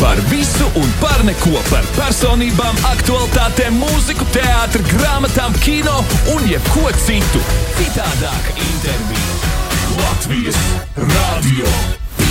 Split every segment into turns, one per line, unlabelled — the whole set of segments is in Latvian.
Par visu un par neko. Par personībām, aktualitātēm, mūziku, teātriem, grāmatām, kino un jebko citu. Citādāk intervija Latvijas Radio 5.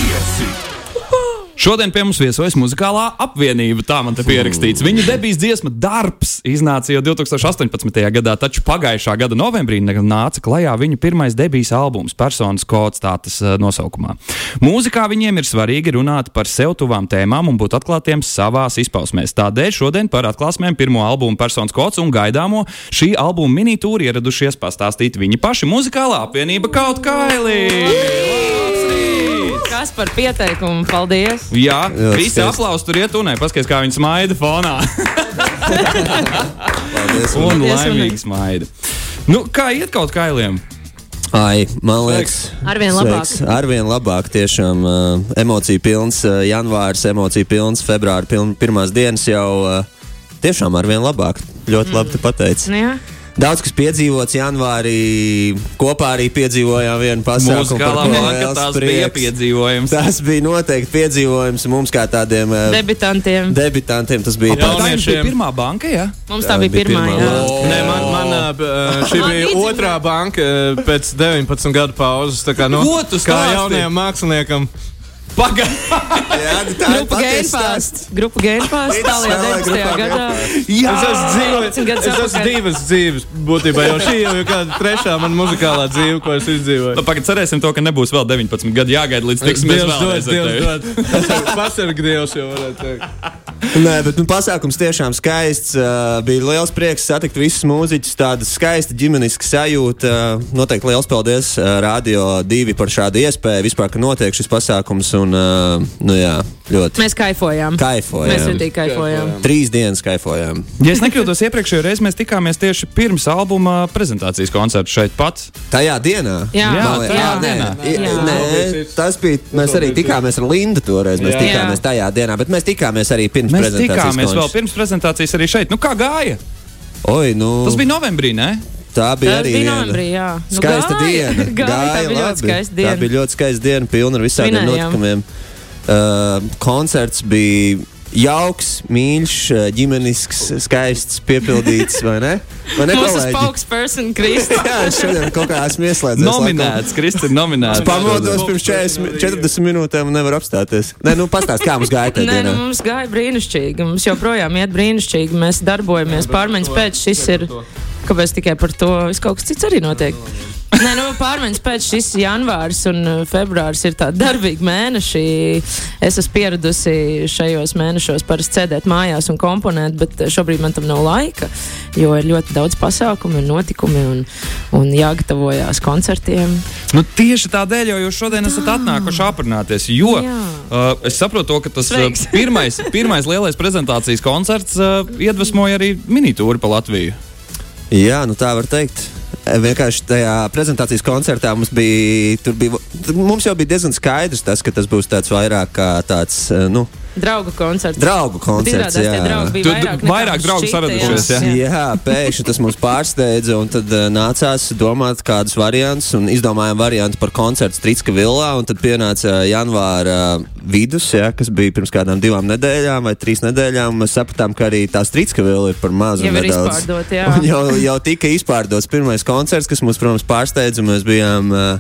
Šodien pie mums viesojas muzikālā apvienība. Tā man te pierakstīts. Viņa debijas dziesma darbs iznāca jau 2018. gadā, taču pagājušā gada novembrī ne- nāca klajā viņa pirmais debijas albums, personas kods tātas eh, nosaukumā. Mūzikā viņiem ir svarīgi runāt par sev tuvām tēmām un būt atklātiem savās izpausmēs. Tādēļ šodien par atklāsmēm pirmo albumu personas kods un gaidāmo šī albuma minitūru ieradušies pastāstīt viņi paši muzikālā apvienība kaut kā Elī!
Kas par pieteikumu? Paldies!
Jā,
Jā,
visi
skaisti.
aplausa tur iet un paskatās, kā viņa smaida fonā.
Paldies, un-
Un
Paldies,
laimīgi smaida. Nu, kā iet kaut kailiem?
Ai, man liekas,
Arvien labāk.
sveiks. Arvien labāk, tiešām uh, emociju pilns. Uh, janvārs, emociju pilns, februāra piln, pirmās dienas jau uh, tiešām arvien labāk. Ļoti mm. labi tu pateici.
Nu, jā.
Daudz kas piedzīvots janvārī. Kopā arī piedzīvojām vienu pasākumu.
Mūsu
par
galā
ko
man
liels
liekas, bija
prieks.
piedzīvojums.
Tas bija noteikti piedzīvojums mums kā tādiem uh,
Debitantiem.
debitantiem. Tas
Tā
bija pats-
jums bija
Jauniešiem.
pirmā banka, jā?
Mums tā bija pirmā. jā.
lāde.
Nē, man,
Oh.
man ā, b- ā, šī
Man
bija
līdzīgi.
otrā banka ā, pēc 19 gadu pauzes. Tā kā, nu,
Ko tu
kā
stāsti?
jaunajam māksliniekam.
Pagaidām!
Jā, tā ir
Grupa
patiesa
Gainfāst. Grupa Gainfāst.
Līdz
Tālajā
savai
19.
grupā
gadā.
Jā, es esmu dzīvojis.
18 gadus
Es esmu
atpakaļ.
divas dzīves, būtībā jau šī jau ir kāda trešā mana muzikālā dzīve, ko es izdzīvoju.
Pagaidām, nu, cerēsim to, ka nebūs vēl 19 gadi jāgaida līdz tiksimies
Dievs dod,
vēlreiz. ar
Dievs
tevi.
dod. Pasarg- Pasarg Dievs jau varētu teikt.
Nē, bet nu, pasākums tiešām skaists. Uh, bija liels prieks satikt visus mūziķus. Tāda skaista ģimenes sajūta. Uh, noteikti liels paldies uh, Radio 2 par šādu iespēju. Vispār, ka notiek šis pasākums. Un, uh, nu, jā, ļoti
Mēs kaifojām.
kaifojām.
Mēs arī kaifojām.
Trīs dienas kaifojām.
Ja es nekļūdos, iepriekšējā reizē mēs tikāmies tieši pirms albuma prezentācijas koncerta šeit pat.
Tajā dienā.
Jā,
Jā,
Man liekas,
tajā
jā, nē,
dienā.
jā,
Jā.
nē, tas bija. Mēs arī tikāmies ar Lindu toreiz. Mēs
Jā.
tikāmies tajā dienā, bet mēs tikāmies arī pirms
Mēs
prezentācijas.
tikāmies vēl
konča.
pirms prezentācijas arī šeit. Nu, kā gāja?
Oi, nu,
Tas bija novembrī, ne?
tā bija
Tas
arī
bija
viena.
novembrī. Jā,
Skaista
Nu, gāja.
diena.
Gāja, tā bija
labi.
ļoti skaista
Tā bija
diena.
ļoti skaista diena, pilna ar visādiem
Svinējām.
notikumiem. Uh, koncerts bija jauks, mīļš, uh, ģimenisks, skaists, piepildīts. Vai ne? Vai ne
Mūsu
kolēģi?
spokesperson Krista.
Jā, es šodien kaut kā esmu ieslēdzies. laikam.
Nominēts, Kristīna, nominēts.
Pamodos pirms 40, 40 minūtēm un nevar apstāties. Nē, nu pastāst, kā mums gāja tajā
Nē, nu,
dienā.
mums gāja brīnišķīgi. Mums joprojām iet brīnišķīgi. Mēs darbojamies pārmaiņas pēc. Šis ir. Kāpēc tikai par to? Viss kaut kas cits arī notiek. Nē, nu, pārmaiņas pēc šis janvārs un uh, februāris ir tādi darbīgi mēneši. Es esmu pieradusi šajos mēnešos parasti sēdēt mājās un komponēt, bet uh, šobrīd man tam nav laika, jo ir ļoti daudz pasākumu un notikumu un, un jāgatavojās koncertiem.
Nu, tieši tādēļ jau jūs šodien esat atnākuši aprunāties. Jo
Jā.
uh, es saprotu, to, ka tas uh,
Sveiks.
pirmais, pirmais lielais prezentācijas koncerts uh, iedvesmoja arī minitūru pa Latviju.
Jā, nu tā var teikt. E, Vienkārši tajā prezentācijas koncertā mums bija, tur bija, mums jau bija diezgan skaidrs, tas, ka tas būs tāds vairāk kā tāds, e, nu,
Draugu koncerts.
Draugu koncerts.
Izrādās, tie draugi bija
Tu-
vairāk,
vairāk draugu saradušies,
Jā. jā, pēkšņi tas mums pārsteidza, un tad uh, nācās domāt, kādus variantus, un izdomājām variantu par koncertu Strīdska vilā, un tad pienāca janvāra uh, vidus, jā, kas bija pirms kādām divām nedēļām vai trīs nedēļām, un mēs sapratām, ka arī tā Strīdska vila ir par mazu
Jau ir
nedaudz.
izpārdota, jā.
Un jau, jau tika izpārdots pirmais koncerts, kas mums, protams, pārsteidza, un mēs bijām uh,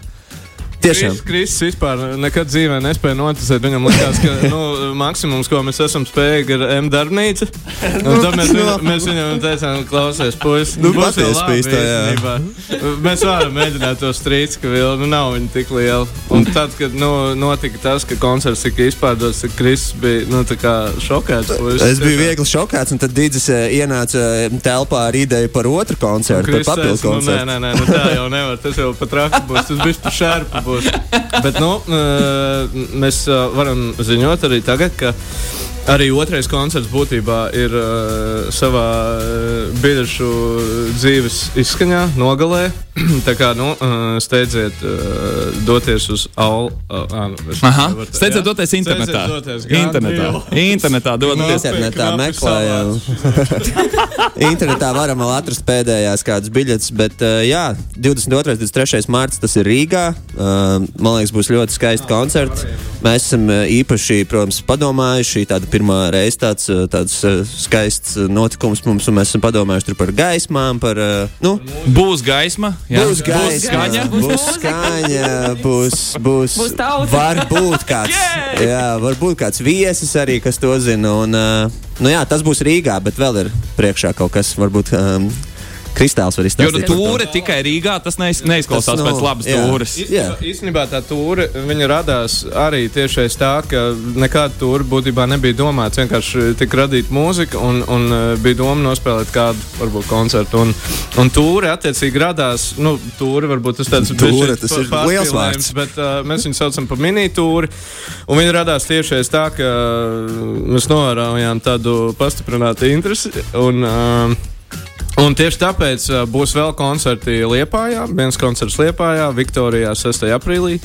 tiešām.
Kris- Krisis vispār nekad dzīvē nespēja noticēt. Viņam likās, ka nu, maksimums, ko mēs esam spējīgi, ir M darbnīca. Un Tad mēs, viņu- mēs viņam teicām, klausies, puisis.
Nu,
būs jau
patiesi,
labi
puisi, tā, jā.
īstenībā. Mēs varam mēģināt to strīdus, ka vēl nu, nav viņa tik liela. Un tad, kad nu, notika tas, ka koncerts tika izpārdots, tad Krisis bija nu, tā kā šokēts. puisis.
Es biju viegli šokēts, un tad Digis ienāca e, telpā ar ideju par otru koncertu, par
Kristus
papildu
teica,
koncertu.
Nu, nē, nē, nē, nu, tā jau nevar. Tas jau pat rāpjas būs. Tas būs par šārpu. Būs. Bet nu, eh, mēs eh, varam ziņot arī tagad, ka arī otrais koncerts būtībā ir eh, savā eh, biļešu dzīves izskaņā, nogalē. Tā kā nu, eh, steidziet eh, doties uz Alu. nu,
Aha, steidzot doties internetā. Internetā, internetā dodaties.
Internetā
Knapi
meklējām. Internetā varam vēl atrast pēdējās kādas biļetes, bet uh, jā, 22. un 23. mārciņā tas ir Rīgā. Uh, man liekas, būs ļoti skaisti koncerti. Mēs esam uh, īpaši, protams, padomājuši tādu pirmā reize tāds, eh, tāds eh, skaists eh, notikums mums, un mēs esam padomājuši tur par gaismām, par. eh, Nu,
Būs gaisma, jā.
Būs gaisa,
skaņa.
būs skaņa, būs, būs,
Būs tauta.
varbūt kāds, jā, varbūt kāds viesis arī, kas to zina. Un, ā, nu jā, tas būs Rīgā, bet vēl ir priekšā kaut kas, varbūt um, Kristāls var
Jo
izstāstīt. par to.
tūre tikai Rīgā, tas neiz, neizklausās
Tas, nu,
pēc labas
jā.
tūres.
Jā.
Īstenībā- Īstenībā tā tūre viņa radās arī tieši aiz tā, ka nekāda tūre būtībā nebija domāta. Vienkārši tika radīta mūzika un, un eh, bija doma nospēlēt kādu varbūt, koncertu. Un, un tūre attiecīgi radās. Nu, tūre varbūt tas
Tūre,
tāds bišķiņ
tas
pa-
ir liels vārds.
pārspīlējums, Bet uh, mēs viņu saucam par mini-tūri. Un Viņa radās tieši aiz tā, ka mēs novērojām tādu pastiprinātu interesi. Un, uh, Un tieši tāpēc uh, būs vēl koncerti Lietpājā. Viens koncerts Lietpājā, Viktorijā 6. aprīlī.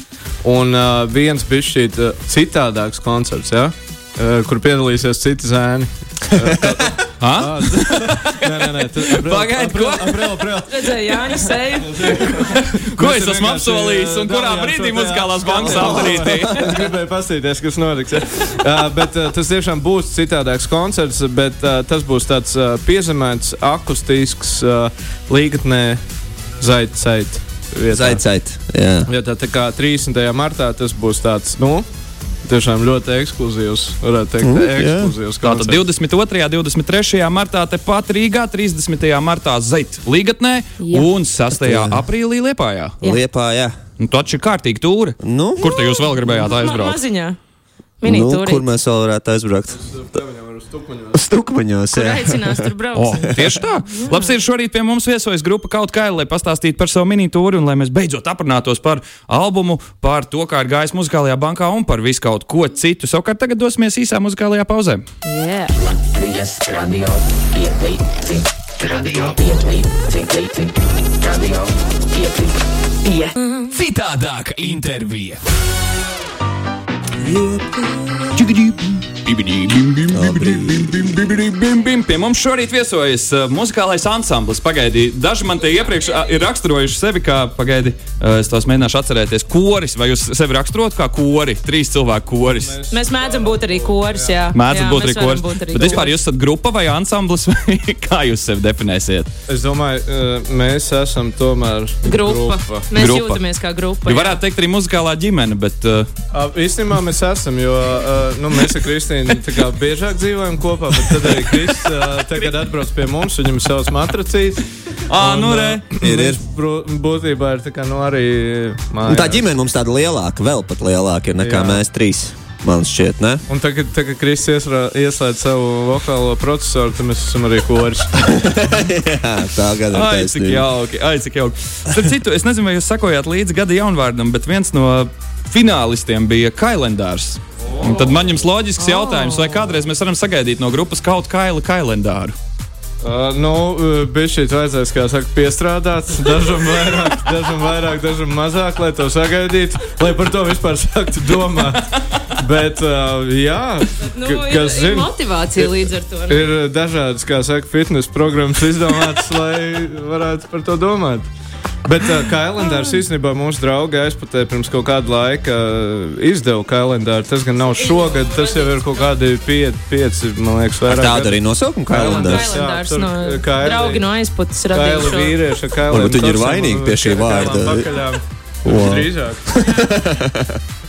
Un uh, viens bija šī citādāks koncerts, ja? uh, kur piedalīsies citi zēni.
Ha?
Nē, nē, nē, tas ir
Pagaid, ko?
Redzēju, Jānis, seju.
Ko es esmu apsolījis un kurā brīdī muzikālās bankas autorītī?
Es gribēju paskatīties, kas notiks. ja. Uh, bet uh, tas tiešām būs citādāks koncerts, bet uh, tas būs tāds uh, piezemēts, akustisks, uh, līgatnē, zaicait.
Zaicait, jā.
Ja tā, tā kā 30. martā tas būs tāds, nu, tiešām ļoti ekskluzīvs, varētu teikt, mm, ekskluzīvs.
Tātad
koncerts.
22. un 23. martā tepat Rīgā, 30. martā Zaitā, Ligatnē
Jā.
un 6. aprīlī Lietpājā.
Jā.
Liepā, jā.
Nu, Taču ir kārtīgi tūri.
Nu,
Kur te jūs vēl gribējāt
Ma-
aizbraukt?
Maziņā.
nu,
Minitūrī.
kur mēs vēl varētu aizbraukt? Stukmaņos,
Kur
jā.
aicinās tur
O,
braukt?
tieši tā. Labs ir šorīt pie mums viesojas grupa kaut kā, lai pastāstītu par savu minitūru un lai mēs beidzot aprunātos par albumu, par to, kā ir gājis muzikālajā bankā un par visu kaut ko citu. Savukārt tagad dosimies īsā muzikālajā pauzē.
Jā.
Latvijas radio pieteikti, radio pieteikti, radio pieteikti.
Citādāk intervija.
Bim, bim, pie mums šorīt viesojas uh, muzikālais ansamblis. Pagaidi, daži man te iepriekš uh, ir raksturojuši sevi kā, pagaidi, uh, es tos mēģināšu atcerēties, koris. Vai jūs sevi raksturot kā kori? Trīs cilvēku koris.
Mēs mēdzam būt arī koris. jā.
Mēdz
Jā,
būt
mēs
arī
varam
koris.
būt arī
Bet vispār jūs esat grupa vai ansamblis? vai kā jūs sevi definēsiet?
Es domāju, eh, mēs esam tomēr
Grupa. Mēs
Grupa.
jūtamies kā grupa.
Jūs
jā.
varētu teikt arī muzikālā ģimene, bet uh,
Ā, Īstenībā mēs esam, jo ā, nu, mēs ar Kristīnu tā kā biežāk dzīvojam kopā, bet tad arī Kristīna tagad atbrauc pie mums, viņam ir savs matracīs.
Ā, nu re.
ir, ir. Būtībā ir tā kā nu, arī
Un
mājās.
tā ģimene mums tāda lielāka, vēl pat lielāka ir nekā jā.
Jā.
mēs trīs, man šķiet, ne?
Un tagad, kad Kristīns ieslēdz savu vokālo procesoru, tad mēs esam arī koris.
jā, tā gada
Ai, cik jauki, ai, cik jauki. Starp citu, es nezinu, vai jūs sakojāt līdzi gada jaunvārdam, bet viens no finālistiem bija kailendārs. Un tad man jums loģisks jautājums, vai kādreiz mēs varam sagaidīt no grupas kaut kādu kailendāru?
Uh, nu, bija šī tā vajadzēs, kā saka, piestrādāt. Dažam vairāk, dažam vairāk, dažam mazāk, lai to sagaidītu, lai par to vispār sāktu domāt. Bet, uh, jā,
Nu,
ka-
ir,
kas
ir
zina?
motivācija līdz ar to. ne?
Ir uh, dažādas, kā saka, fitnes programmas izdomātas, lai varētu par to domāt. Bet uh, kalendārs īstenībā mūsu draugi aizpatē pirms kaut kāda laika uh, izdeva kalendāru. Tas gan nav šogad, tas jau ir kaut kādi pie- pieci, man liekas, vairāk.
Tāda arī nosaukuma kalendārs.
Kailendārs
Jā, tur
no
Kaili-
draugi no aizputes
Kaila
radīja.
vīrieša, kā
Varbūt viņi ir vainīgi pie šī vārda. Wow.
Drīzāk.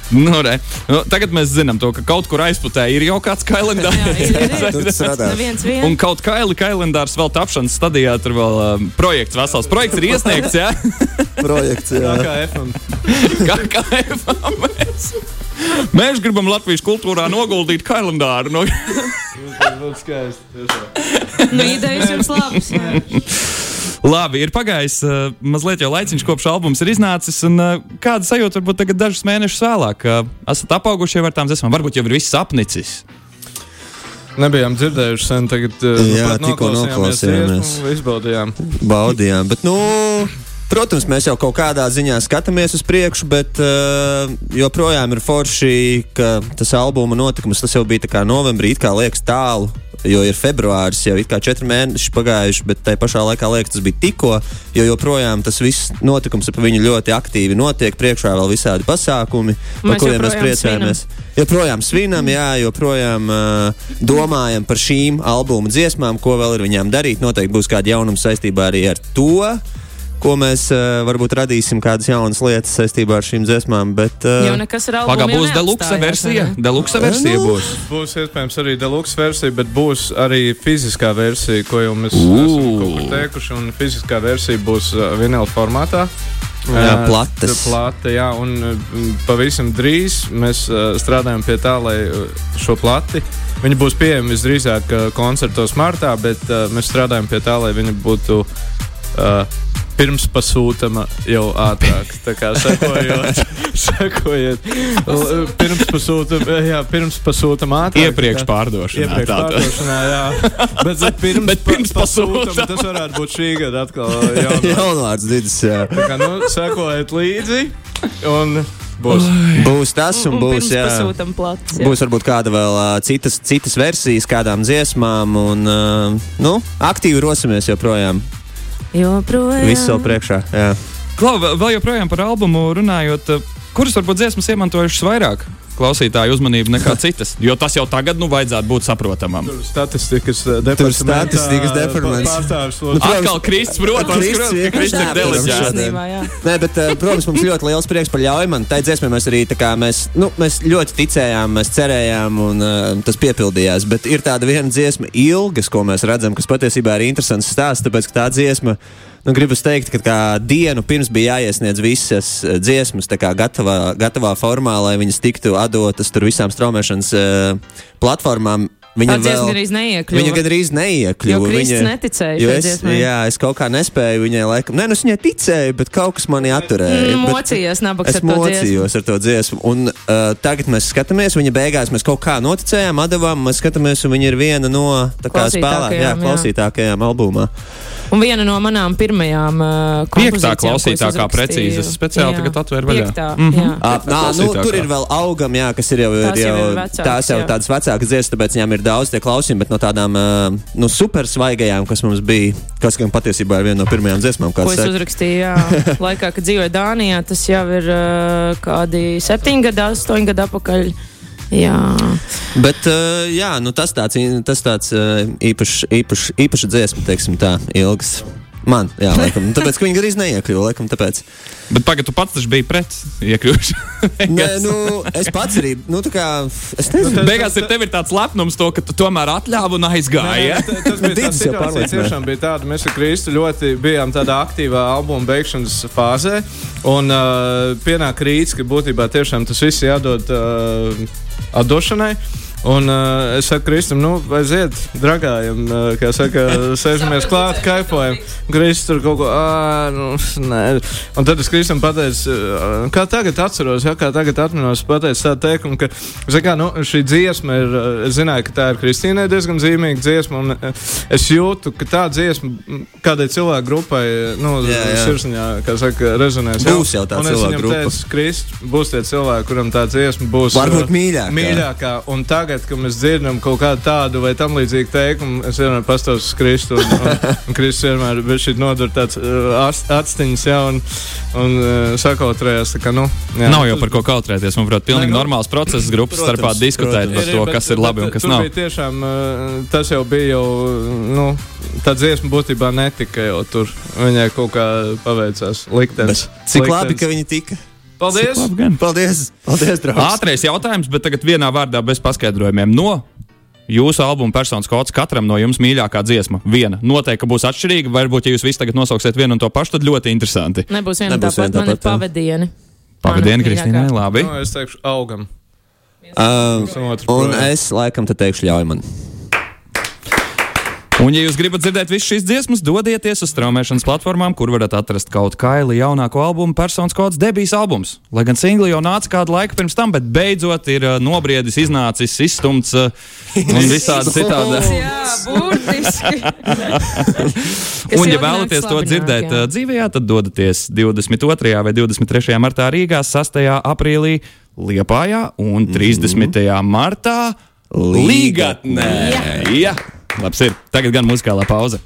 Nu, re. nu, tagad mēs zinām, to, ka kaut kur aizputē ir jau kāds
Jā,
kailendārs.
ir, ir, ir.
Tur tas radās.
Neviens vien.
Un kaut kā Kaili Kailendārs vēl tapšanas stadijā, tur vēl um, projekts, vesels projekts ir iesniegts, jā?
Projekts,
Tā
jā.
kā FM.
Kā kaifam mēs? Mēs gribam Latvijas kultūrā noguldīt kailendāru. No...
Tas būtu skaisti. tiešām.
Nu, idejas jums labas. jā.
Labi, ir pagājis uh, mazliet jau laiciņš, kopš albums ir iznācis. Un, uh, kāda sajūta varbūt tagad dažus mēnešus vēlāk? Uh, esat apaugušie ar tām dziesmām, varbūt jau ir viss apnicis.
Nebijām dzirdējuši sen, tagad
Jā,
uh, pat
tikko
noklausījāmies
noklausījāmies.
dziesmu, Izbaudījām.
Baudījām. Bet, nu, Protams, mēs jau kaut kādā ziņā skatāmies uz priekšu, bet uh, joprojām ir forši, ka tas albuma notikums tas jau bija tā kā novembrī, it kā liekas tālu. Jo ir februāris, jau ir četri mēneši pagājuši, bet tajā pašā laikā liekas, tas bija tikko. Jo joprojām tas viss notikums ap viņu ļoti aktīvi notiek. Priekšā vēl visādi pasākumi, par
Mēs
kuriem mēs
joprojām
priecājamies. Joprojām svinam, jā, joprojām uh, domājam par šīm albuma dziesmām, ko vēl ir viņām darīt. Noteikti būs kāda jaunuma saistībā arī ar to ko mēs uh, varbūt radīsim, kādas jaunas lietas saistībā ar šīm dziesmām. Bet,
Jau
uh,
nekas ar albumu
Pagaidā
jau
būs deluxe
neatstājās,
versija.
vai ne? Nu,
Deluxe versija būs.
Būs iespējams arī deluxe versija, bet būs arī fiziskā versija, ko jau mēs esam kaut kur teikuši. Un fiziskā versija būs uh, vinila formātā.
Jā,
Uh,
plates.
tā Plate, jā, un mm, pavisam drīz mēs uh, strādājam pie tā, lai uh, šo plati. Viņa būs pieejama visdrīzāk uh, koncertos martā, bet uh, mēs strādājam pie tā, lai viņa būtu uh, pirms pasūtama jau ātrāk. Tā kā sekojot, sekojot. l- uh, Pirms pasūtama, jā, pirms pasūtama ātrāk.
Iepriekš pārdošanā.
Iepriekš
tā tad.
pārdošanā, jā. Bet, bet pirms,
Bet pirms
pa- pasūtama,
pasūtama.
tas varētu būt šī gada atkal uh, jaunā
Jaunvārds dīdis, jā.
Tā kā, nu, sekojiet līdzi. Un būs.
Būs tas un,
Un
un būs.
pirms
Jā.
pasūtam plats. jā.
Būs varbūt kāda vēl ā, citas, citas versijas, kādām dziesmām, un ā, nu, aktīvi rosimies joprojām.
Joprojām.
Viss vēl priekšā. Jā.
Klau, vēl- vēl joprojām par albumu runājot, eh, kuras varbūt dziesmas iemantojušas vairāk klausītāju uzmanību nekā citas? Jo tas jau tagad nu vajadzētu būt saprotamam.
Statistikas uh,
statistikas departaments.
Nu,
departaments.
Atkal Kristus, protams,
Krists
Krists, ka
vienkārši
Krists ir
neapturam
deliģēts.
šodien.
Īstenībā, jā.
Nē, bet, eh, protams, mums ļoti liels prieks par ļaujamanu. Tā dziesma mēs arī tā kā mēs, nu, mēs ļoti ticējām, mēs cerējām, un uh, tas piepildījās. Bet ir tāda viena dziesma, ilgas, ko mēs redzam, kas patiesībā ir interesants stāsts, tāpēc ka tā dziesma. Nu, gribas teikt, ka kā dienu pirms bija jāiesniedz visas eh, dziesmas, tā kā gatavā, gatavā formā, lai viņas tiktu atdotas tur visām straumēšanas uh, platformām. Viņa
Tā dziesma gandrīz neiekļuva.
Viņa gandrīz neiekļuva.
Jo Krists
Viņa-
neticēja
Jo
šai
es,
dziesmai.
jā, es kaut kā nespēju viņai, laikam, nē, nu es viņai ticēju, bet kaut kas mani atturēja.
Mm,
Bet
Mocījās nabaks
Es
ar to dziesmu.
mocījos ar to dziesmu, un uh, tagad mēs skatāmies, viņa beigās mēs kaut kā noticējām, atdevām, mēs skatāmies, un viņa ir viena no tā kā spēlēm,
Klausītākajām,
jā,
jā.
klausītākajām albumā.
Un viena no manām pirmajām uh,
Piektā
kompozīcijām, ko es
klausītākā
uzrakstīju.
precīzi. Es speciāli
Jā.
tagad atvēru vaļā.
Piektā,
Mhm.
jā.
Ah, nā, nu,
Klausītākā.
tur ir vēl augam, jā, kas ir jau,
Tās jau
jau,
ir vecākas,
tās jau
jā.
tādas vecākas dziesmas, tāpēc viņām ir daudz tie klausījumi, bet no tādām uh, nu, super svaigajām, kas mums bija, kas gan patiesībā ir viena no pirmajām dziesmām,
Ko
kādas
es uzrakstīju, jā, laikā, kad dzīvoju Dānijā, tas jau ir uh, kādi septiņi gadi, astoņi gadi atpakaļ. Jā,
Bet uh, jā, nu tas tāds, i- tas tāds uh, īpašs, īpašs, īpašs dziesma, teiksim tā, ilgs. Man, jā, laikam. Nu, Tāpēc, ka viņi arī neiekļuva, laikam, tāpēc.
Bet pagaidi, tu pats taču biji pret iekļūšanu.
Nē, nu, es pats arī, nu, tā kā, es nezinu.
Beigās ir tev ir tāds lepnums, to, ka tu tomēr atļāvi un aizgāji. ja?
Dīdis
Tas bija tas
jau
situācija.
pārliecināja.
Tiešām bija tāda. Mēs ar Kristu ļoti bijām tādā aktīvā albuma beigšanas fāzē. Un uh, pienāk rīts, ka būtībā tiešām tas viss jādod uh, atdošanai. Un uh, es saku, Kristam, nu, aiziet, dragājam, uh, kā saka, sēžamies klāt, kaifojam. Kristus tur kaut ko, ah, nu, nē. Un tad es Kristam pateicu, uh, kā tagad atceros, jā, kā tagad atminos, pateicu tādu teikumu, ka, zaka, nu, šī dziesma ir, uh, es zināju, ka tā ir Kristīnai diezgan zīmīga dziesma, un uh, es jūtu, ka tā dziesma mm, kādai cilvēku grupai, uh, nu,
Jā, jā.
sirsniņā, kā saka, rezonēs. jā.
Būs jau tā
Un es
cilvēku
viņam
grupa.
teicu, Kristus, būs tie cilvēki, kuram tā dziesma būs.
Varbūt
uh,
mīļākā.
Mīļākā. Un tagad, kad mēs dzirdam kaut kādu tādu vai tam līdzīgu teikumu, es vienmēr pastāstu uz Kristu. Un, un, un Kristus vienmēr bija šī nodara tāds uh, ast- atstiņas, jā, un, un uh, sakautrējās. tā Kā, nu, jā.
Nav jau par ko kautrēties. Man liekas, pilnīgi
Nē, nu,
normāls process grupas
protams,
starpā diskutēt par
Ir,
to,
bet-
kas ir
bet
labi un kas
tur
nav.
bija Tiešām, uh, tas jau bija jau, nu, tā dziesma būtībā netika jau tur. Viņai kaut kā paveicās liktenis.
Bet Cik labi, ka viņi tika.
Paldies!
Labi, gan.
Paldies! Paldies, draugs!
Ātrais jautājums, bet tagad vienā vārdā bez paskaidrojumiem. No jūsu albuma personas kods katram no jums mīļākā dziesma. Viena noteikti ka būs atšķirīga. Varbūt, ja jūs visi tagad nosauksiet vienu un to pašu, tad ļoti interesanti.
nebūs viena nebūs
Nebūs viena
tāpat, man ir
tāpat, jā.
pavadieni.
Pavadienu,
Mana
Kristīnai,
mīļākā.
labi.
Nu, es teikšu, augam.
Um,
Esam otru
un
projām.
es, laikam, te teikšu, ļauj man.
Un, ja jūs gribat dzirdēt visu šīs dziesmas, dodieties uz straumēšanas platformām, kur varat atrast kaut kādu jaunāko albumu, personas kods, debijas albums. Lai gan singli jau nāca kādu laiku pirms tam, bet beidzot ir ā, nobriedis, iznācis, izstumts ā, un visādi citādi.
Jā, burtiski. Kas
Un, ja
jaunāk
vēlaties to
slabināk,
dzirdēt
jā.
jā. dzīvē, tad dodaties 22. vai 23. martā Rīgā, 6. aprīlī Liepājā un 30.
Mhm.
martā Līgatnē. Jā, labs ir. Tagad gan muzikālā pauze.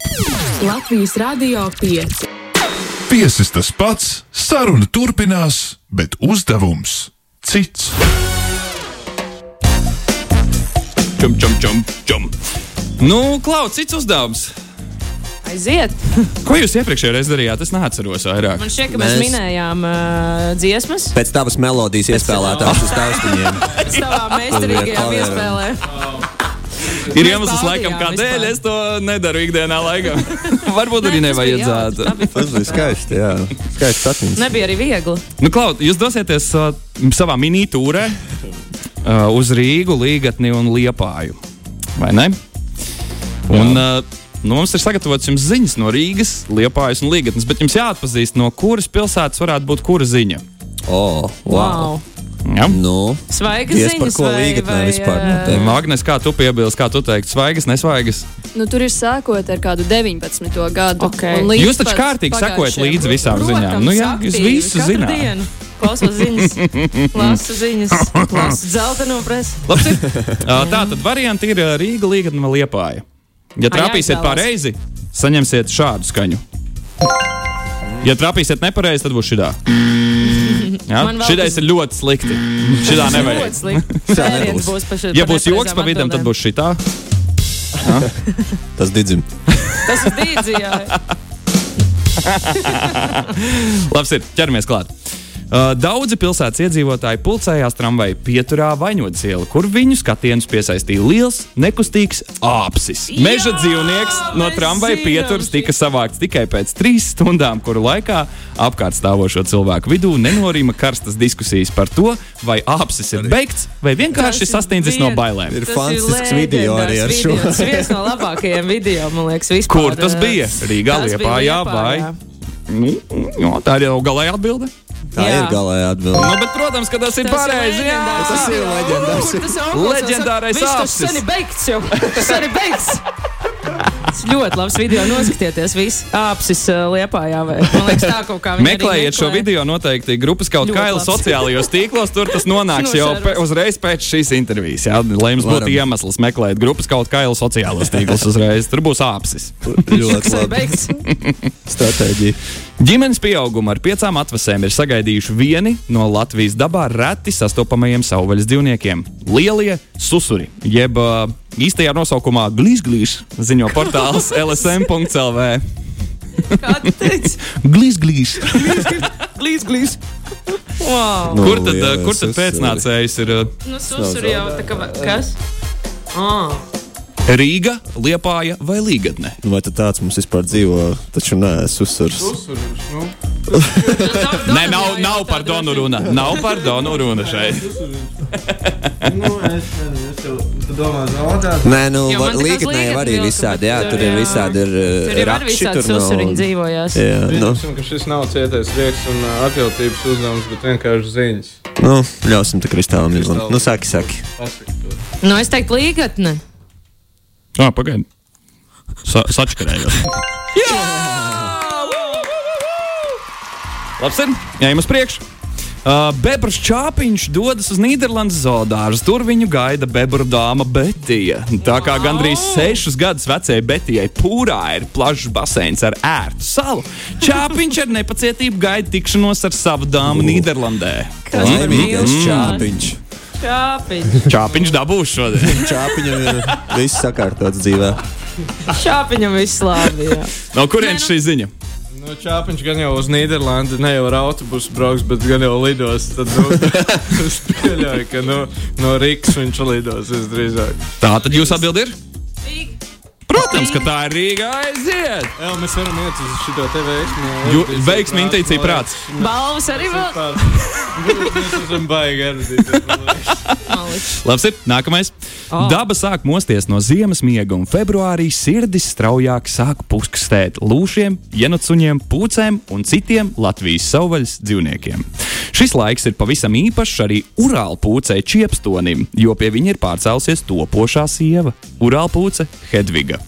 Latvijas Rādio 5.
Viesis tas pats, saruna turpinās, bet uzdevums cits.
Čum, čum, čum, čum. Nu, Klaus, cits uzdevums.
Aiziet!
Ko jūs iepriekšējā reizē darījāt? Es neatceros vairāk.
Man šķiet, ka mēs, mēs
Mēs-
minējām uh, dziesmas
Pēc tavas melodijas iespēlētās uz taustiņiem.
savā meistarīgajā
Klavierēm.
iespēlē.
Ir
mēs
iemesls, laikam,
baudījām
kādēļ
vispār.
es to nedaru ikdienā laikā. Varbūt arī
Nē, tas bija
nevajadzētu.
jautri, labi.
Tas bija skaisti, jā. Skaisti atmiņas.
Nebija arī viegli.
Nu, Klaud, jūs dosieties uh, savā mini-tūrē uh, uz Rīgu, Līgatni un Liepāju. Vai ne? Un, uh, nu, mums ir sagatavots jums ziņas no Rīgas, Liepājas un Līgatnes, bet jums jāatpazīst, no kuras pilsētas varētu būt kura ziņa.
O, wow.
Wow.
Ja?
Nu,
Svaigas
Ties par
ziņas
ko
vai-
Līgatnē
vai, uh,
vispār nu,
ā,
notiek?
Agnēs, kā tu piebilst, kā tu teiksi, svaigas, nesvaigas?
Nu, tur ir sākot ar kādu 19. gadu.
Okei.
un līdz
Jūs taču
pat
kārtīgi sekojat
pagājušajam.
līdzi visām ziņām.
Protams,
Nu, jā, jūs
aktīvi,
visu
katru
zināt.
dienu. Klausos ziņas, lasu ziņas, lasu dzelteno presi.
Labs ir. Uh, Tā tad varianti ir uh, Rīga, Līgatne un Liepāja. Ja trāpīsiet
jāizvēlas.
pareizi, saņemsiet šādu skaņu. Ja trāpīsiet nepareizi, tad būs šī tā. Ja?
Man vēl
Šī tā
tas-
ir ļoti slikti. Šī tā
Ļoti
nevajag.
slikti.
nebūs.
Sēriens būs pa šeit.
Ja
pa
būs joks
nepareizām
pa vidu, tad
atbildēm.
būs šī tā.
tas didzim.
Tas ir dīdzi, jā.
Labs ir, ķeramies klāt. Uh, Daudzi pilsētas iedzīvotāji pulcējās tramvaja pieturā vaņodas iela, kur viņu skatienus piesaistīja liels, nekustīgs āpsis. Meža
Jā,
dzīvnieks no
mēs
tramvaja
zinām
pieturas
šī-
tika savākts tikai pēc trīs stundām, kuru laikā apkārt stāvošo cilvēku vidū nenorima karstas diskusijas par to, vai āpsis ir beigts vai vienkārši
Tas ir
sastindzis no
vien-
bailēm.
Ir fantastisks video arī ar šo.
Tas ir viens no labākajiem video, man liekas, vispār. uh,
Kur tas bija?
Tas
Rīgā,
bija
Liepājā vai?
Liepājā.
Nu, jo, tā ir jau galēja atbilde.
Tā
Jā.
ir galējā atbilde.
Nu, bet, protams, ka tas ir
Tas ir
pareizi. jā.
leģendārs.
Tas ir leģendārs.
Tas jau apmācās,
Leģendārais
saka, "Viss,
āpsis."
Tas sen ir beigts jau. Tas sen ir beigts. Tas ļoti labs video. Noskatieties, viss apsis eh, liepā jau. Man liekas, tā kaut kā viņi arī
Meklējiet šo
meklē.
video noteikti grupas kaut
Ļoti
kādā
labs.
sociālajos tīklos. Tur tas nonāks jau
Nožēros.
pe, uzreiz pēc šīs intervijas. Jā, lai jums būtu
Varam.
iemesls meklēt grupas kaut kādā sociālajos tīklos uzreiz. Tur būs āpsis.
Ļoti
Tas ir
labi.
beigts.
Stratēģija.
Ģimenes pieauguma ar piecām atvasēm ir sagaidījuši vieni no Latvijas dabā reti sastopamajiem savvaļas dzīvniekiem - lielie susuri, jeb ā, īstajā nosaukumā glīzglīz, ziņo portāls lsm.lv.
Kā tu teici?
Glīzglīz!
Glīz, glīz. Wow.
Nu,
Kur tad,
jā,
ā, kur tad
es esmu-
pēcnācējs ir? ā,
Nu, susur jau tā kā. Kas? Ah.
Rīga, Liepāja vai Līgatne?
Nu, Vai tad tāds mums vispār dzīvo? Taču nē, es uzsveru.
nu,
Nu,
Nē, nav, nav par donu runa. Nav par donu runa šeit.
Nu, es nezinu, es tev tu domā zaudēt.
Nē, nu,
Jo man tā kā
līgatnē jau
Līgatne
arī
vilka,
visādi, jā,
bet,
tur
jā.
ir visādi ir eh,
Tur jau ir
rakši,
visādi
tur nav-
susuriņi dzīvojās.
Jā, nu,
Pieņemsim, ka šis nav cietais rieks un ā, atjautības uzdevums, bet vienkārši ziņas.
nu, ļausim te kristālam izlemt. Nu, saki, saki.
Pasakot.
Nu, es teiktu, līgatne.
Jā, pagaidi. Sa sačkarējos. Labs ir. Ejam uz priekšu. Uh, Bebras čāpiņš dodas uz Nīderlandes zoodārzu. Tur viņu gaida bebru dāma Betija. Tā kā gandrīz sešus gadus vecajai Betijai pūrā ir plašs baseins ar ērtu salu, čāpiņš ar nepacietību gaida tikšanos ar savu dāmu Nīderlandē.
Tas ir
Laimīgais
mīlestības
čāpiņš.
Čāpiņš.
Čāpiņš dabūs šodien.
Čāpiņam ir viss sakārtots dzīvē.
Čāpiņam viss labi. jā.
No kurienes šī ziņa?
Nu, čāpiņš gan jau uz Nīderlandi, ne jau ar autobusu brauks, bet gan jau lidos. Tad, nu, es pieļauju, ka nu, no, no Rīgas viņš lidos visdrīzāk.
Tā tad jūs atbildi ir? Protams, ka tā ir Rīga aiziet!
Jā, mēs varam iet uz šo te veiksmu.
Jū- veiksmi, intuīcija, prāts.
Balvas arī vēl.
Mēs esam baigi gardīgi.
Labs ir, nākamais. Oh. Daba sāk mosties no ziemas miega, un februārī sirdis straujāk sāk puskstēt lūšiem, jenucuņiem, pūcēm un citiem Latvijas savvaļas dzīvniekiem. Šis laiks ir pavisam īpašs arī urālpūcei Čiepstonim, jo pie viņa ir pārcēlusies topošā sieva - urālpūce Hedviga.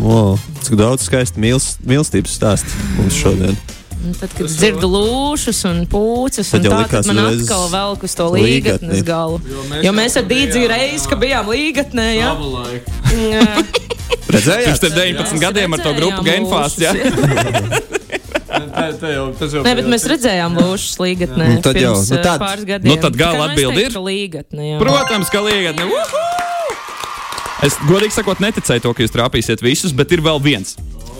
Wow, cik daudz skaistu mīlst- mīlestības stāstu mums šodien.
Un Tad, kad es dzirdu lūšas un pūces,
Tad
un
jau
tā,
likās
tad man
uzreiz
atkal velk uz to
līgatni.
līgatnes galu.
Jo
Jo
mēs
mēs, jo mēs
jau
ar Dīdzi
bijām,
reizi, ka bijām līgatnē, jā.
Labu laiku.
Jā.
Pirms
Redzējāt,
tev 19 gadiem ar to grupu
Redzējām
Gainfāsts. Ja?
lūšas, jā.
Tā- tā jau- tas jau
Nē,
bija-
bet mēs redzējām lūšas līgatnē.
Nu, tad jau,
pirms,
nu
eh,
tad.
pāris gadiem.
Nu, tad gala
Tā kā mēs
atbildi
teiktu,
ir?
ka Līgatne, jā.
Protams, ka līgatne. Uhu! Es godīgi sakot, neticēju to, ka jūs trāpīsiet visus, bet ir vēl viens.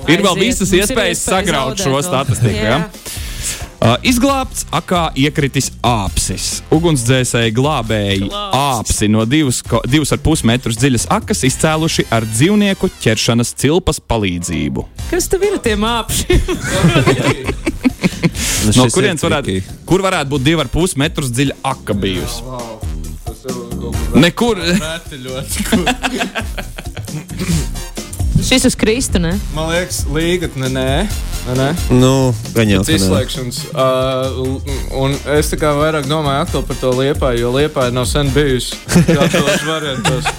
Ir vēl
Aiziet.
visas
Mums ir
iespējas
iespēja
sagraut
zaudēt
šo
vēl.
statistiku. Ja?
Jā.
Uh, izglābts, akā iekritis āpsis. Ugunsdzēsēji glābēji āpsi no 2,5 metrus dziļas akas izcēluši ar dzīvnieku ķeršanas cilpas palīdzību.
Kas tev ir ar tiem apšiem?
Nu,
No
šis ir
kurienes varētu,
tricky.
kur varētu būt 2,5 metrus dziļa aka bijusi?
Vau, tas jau kaut
Nu,
kā
Nekur.
reti ļoti.
Šis uz Kristu, ne?
Man liekas, līgatne, nē. Nē, nē.
Nu, gan jau
Pēc izslēgšanas. Uh, un es tā kā vairāk domāju atkal par to liepāju, jo liepāja nav sen bijusi. Kādos variantos.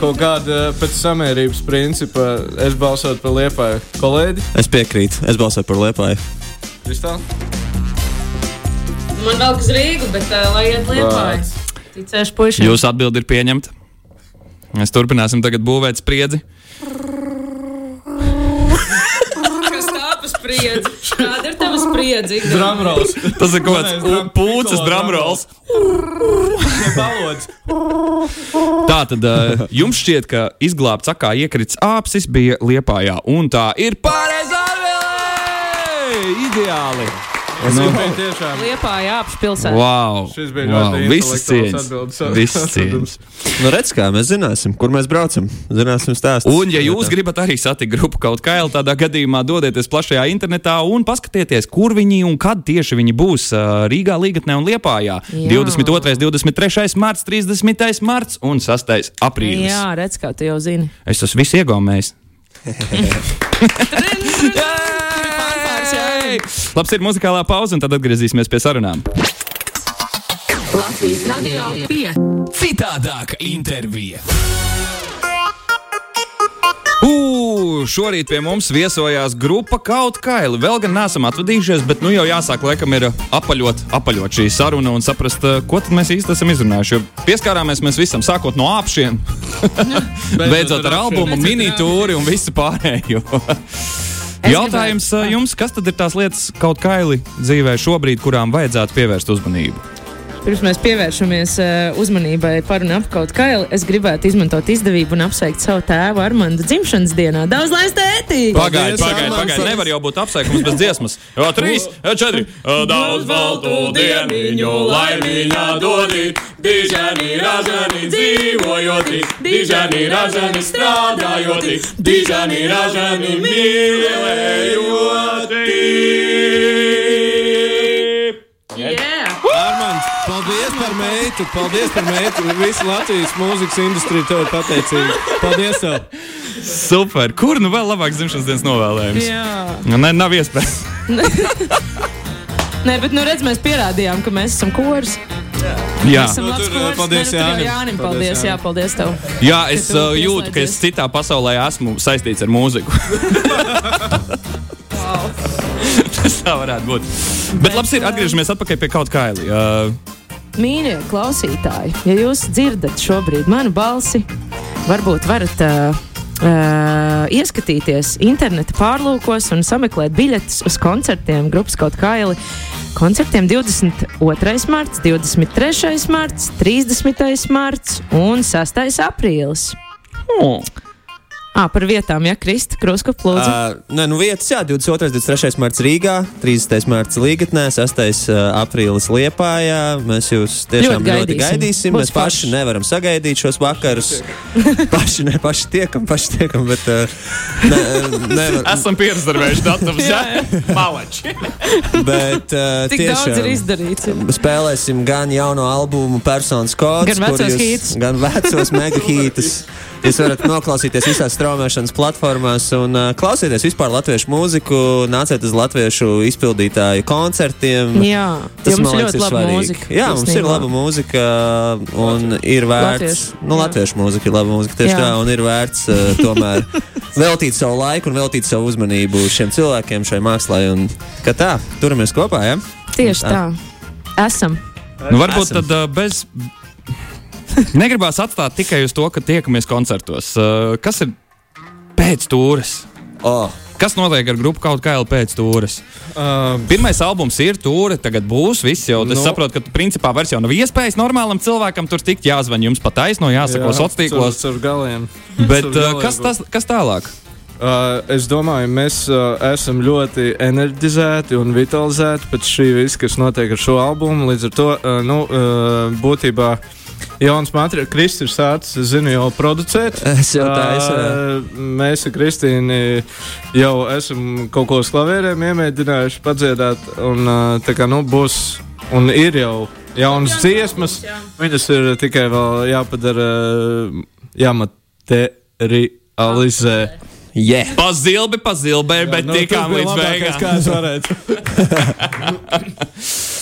Kaut kāda pēc samērības principa es balsotu par liepāju. Kolēģi,
Es piekrītu, es balsoju par Liepāju.
Kristāli?
Man vēl kas Rīgu, bet uh, lai iet liepājas. Ticēšu puiši.
Jūsu atbildi ir pieņemta. Mēs turpināsim tagad būvēt spriedzi.
Kas tāpas spriedzi? Kāda ir tava spriedzi?
Drumrolls.
Tas ir kaut
Pareizi,
kāds u-
drum-
pūces
piccolo
drumrolls.
Balods.
Tā tad uh, jums šķiet, ka izglābts akā iekrits āpsis bija liepājā. Un tā ir pareizā atbildē! Ideāli!
Tas
Nu.
bija tiešām.
Liepāja apš pilsētā.
Wow!
Šis bija
wow.
ļoti
Visas
intelektuāls
cieņas!
atbildes.
Visas cieņas!
Nu, redz, kā mēs zināsim, kur mēs braucam. Zināsim stāstu.
Un, ja jūs gribat arī satikt grupu kaut kā jau tādā gadījumā, dodieties plašajā internetā un paskatieties, kur viņi un kad tieši viņi būs ā, Rīgā, Līgatnē un Liepājā.
Jā.
22., 23. marts, 30. marts un 6. aprīlis.
Jā, redz, kā tu jau zini.
Es esmu viss iegaumējis. Labs ir muzikālā pauze, un tad atgriezīsimies pie sarunām.
Latvijas radio 5.
Citādāka intervija.
Ugh, šorīt pie mums viesojās grupa kaut kā īli. Vēl gan neesam atvadījušies, bet nu jau jāsāk laikam ir apaļot, apaļot šī saruna un saprast, eh, ko tad mēs īsti esam izrunājuši. Jo pieskārāmies mēs visam, sākot no apšiem, beidzot ar albumu, minitūri un visu pārējo. Jautājums eh, jums, kas tad ir tās lietas kaut kā īli dzīvē šobrīd, kurām vajadzētu pievērst uzmanību?
Pirms mēs pievēršamies eh, uzmanībai par un ap kaut kā, es gribētu izmantot izdevību un apsveikt savu tēvu Armando dzimšanas dienā. Daudz laimes tēti!
Pagaidiet, pagaid, pagaid. nevar jau būt apsveikums bez dziesmas. Jā, trīs, jā, četri. Daudz baltu dieniņu, laimīgā dodīt, dižani, ražani dzīvojot, dižani, ražani strādājot, dižani, ražani mīlējot.
Yeah.
Armands, paldies par meitu, paldies par meitu. Visa Latvijas mūzikas industrija tev ir pateicīga. Paldies! Tev.
Super, kur nu vēl labāk dzimšanas dienas novēlējums?
Jā.
Nu, ne, nav iespējams.
Nē, bet nu redz, mēs pierādījām, ka mēs esam kors.
Jā.
Esam
Nu,
labs
tur,
kors. Nē,
paldies
nu, tur jau
Jānim.
Jānim,
Paldies
paldies, jā,
Jānim.
paldies tev.
Jā, es
tu
uh, jūtu, ka es
pieslēdzies.
citā pasaulē esmu saistīts ar mūziku. Tas tā varētu būt. Bet, Bet labi, ir
eh,
atgriežamies atpakaļ pie kaut kā īli. Uh,
Mīļie klausītāji, ja jūs dzirdat šobrīd manu balsi, varbūt varat uh, uh, ieskatīties interneta pārlūkos un sameklēt biļetes uz koncertiem grupas kaut kā īli. Koncertiem 22. marts, 23.
Hmm.
marts, 30. marts un 6. aprīlis.
oh,
Ah, par vietām, ja Krista Kruskapa lūdzu. Uh,
Uh, nē, nu vietas, jā, 22. 23. marts Rīgā, 30. marts Līgatnē, 6. uh, aprīlis Liepājā. Mēs jūs tiešām
Ļoti
ļoti, ļoti
gaidīsim.
gaidīsim.
Būs
Mēs paši
forši.
nevaram sagaidīt šos vakarus. paši, ne, paši tiekam, paši tiekam, bet uh, ne, eh, nevar,
Esam pieredzējuši datumus, jā, malači.
bet uh,
Tik tiešām. daudz ir
tiešām.
izdarīts.
Spēlēsim gan jauno albumu, personas kods,
Gan
kur
vecos
jūs-
hītus.
gan vecos megahītus. Jūs varat noklausīties visās straumēšanas platformās un uh, klausīties vispār latviešu mūziku, nāciet uz latviešu izpildītāju koncertiem.
Jā,
Tas
jums
man liekas,
ļoti
ir
laba
svarīgi.
mūzika.
Jā, mums ir laba mūzika un ir vērts.
Latviešu,
Nu,
jā.
latviešu mūzika ir laba mūzika tieši
Jā.
jā. tā, un ir vērts uh, tomēr veltīt savu laiku un veltīt savu uzmanību šiem cilvēkiem, šai mākslā. Un, ka tā, turamies kopā, jā? Ja?
Tieši tā. Esam.
Nu, varbūt
Esam.
tad uh, bez. Negribās atstāt tikai uz to, ka tiekamies koncertos. Uh, kas ir pēc tūres?
Oh.
Kas notiek ar grupu kaut kā jau pēc tūres?
Uh,
Pirmais albums ir tūre, tagad būs viss jau. Es
Nu.
saprotu, ka principā vairs jau nav iespējas normālam cilvēkam tur tikt jāzvan jums pa taisno, jāsako sociālos tīklos.
Ar galiem.
Bet
Caur
uh,
galiem
kas,
būs.
tas, kas tālāk?
Uh, es domāju, mēs uh, esam ļoti enerģizēti un vitalizēti pēc šī visa, kas notiek ar šo albumu. Līdz ar to, uh, nu, uh, būtībā jauns materiāls, Kristis ir sācis, es zinu, jau producēt.
Es jau tā esmu.
Ā, Mēs ar Kristīnu jau esam kaut ko uz klavierēm iemēģinājuši padziedāt, un ā, tā kā nu būs un ir jau jaunas dziesmas, viņas ir tikai vēl jāpadara, jāmaterializē.
Yeah.
Pa zilbi, pa zilbei, bet
nu, tu
tikām
biji
līdz
labākais,
beigām.
kā es varētu.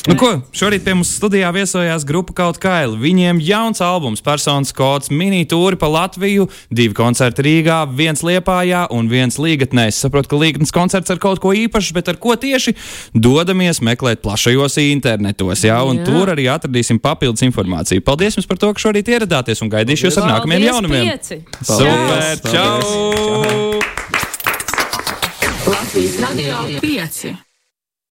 Nu, ko, šorīt pie mums studijā viesojās grupa Kaut Kaila. Viņiem jauns albums, personas kods, mini-tūri pa Latviju, divi koncerti Rīgā, viens Liepājā un viens Līgatnē. Es saprotu, ka Līgatnes koncerts ar kaut ko īpašu, bet ar ko tieši dodamies meklēt plašajos internetos. Jā, un jā.
Jā.
tur arī atradīsim papildus informāciju. Paldies jums par to, ka šorīt ieradāties un gaidīšu jūs ar nākamajiem jaunumiem. Super!
Paldies!
Čau!
Radio 5.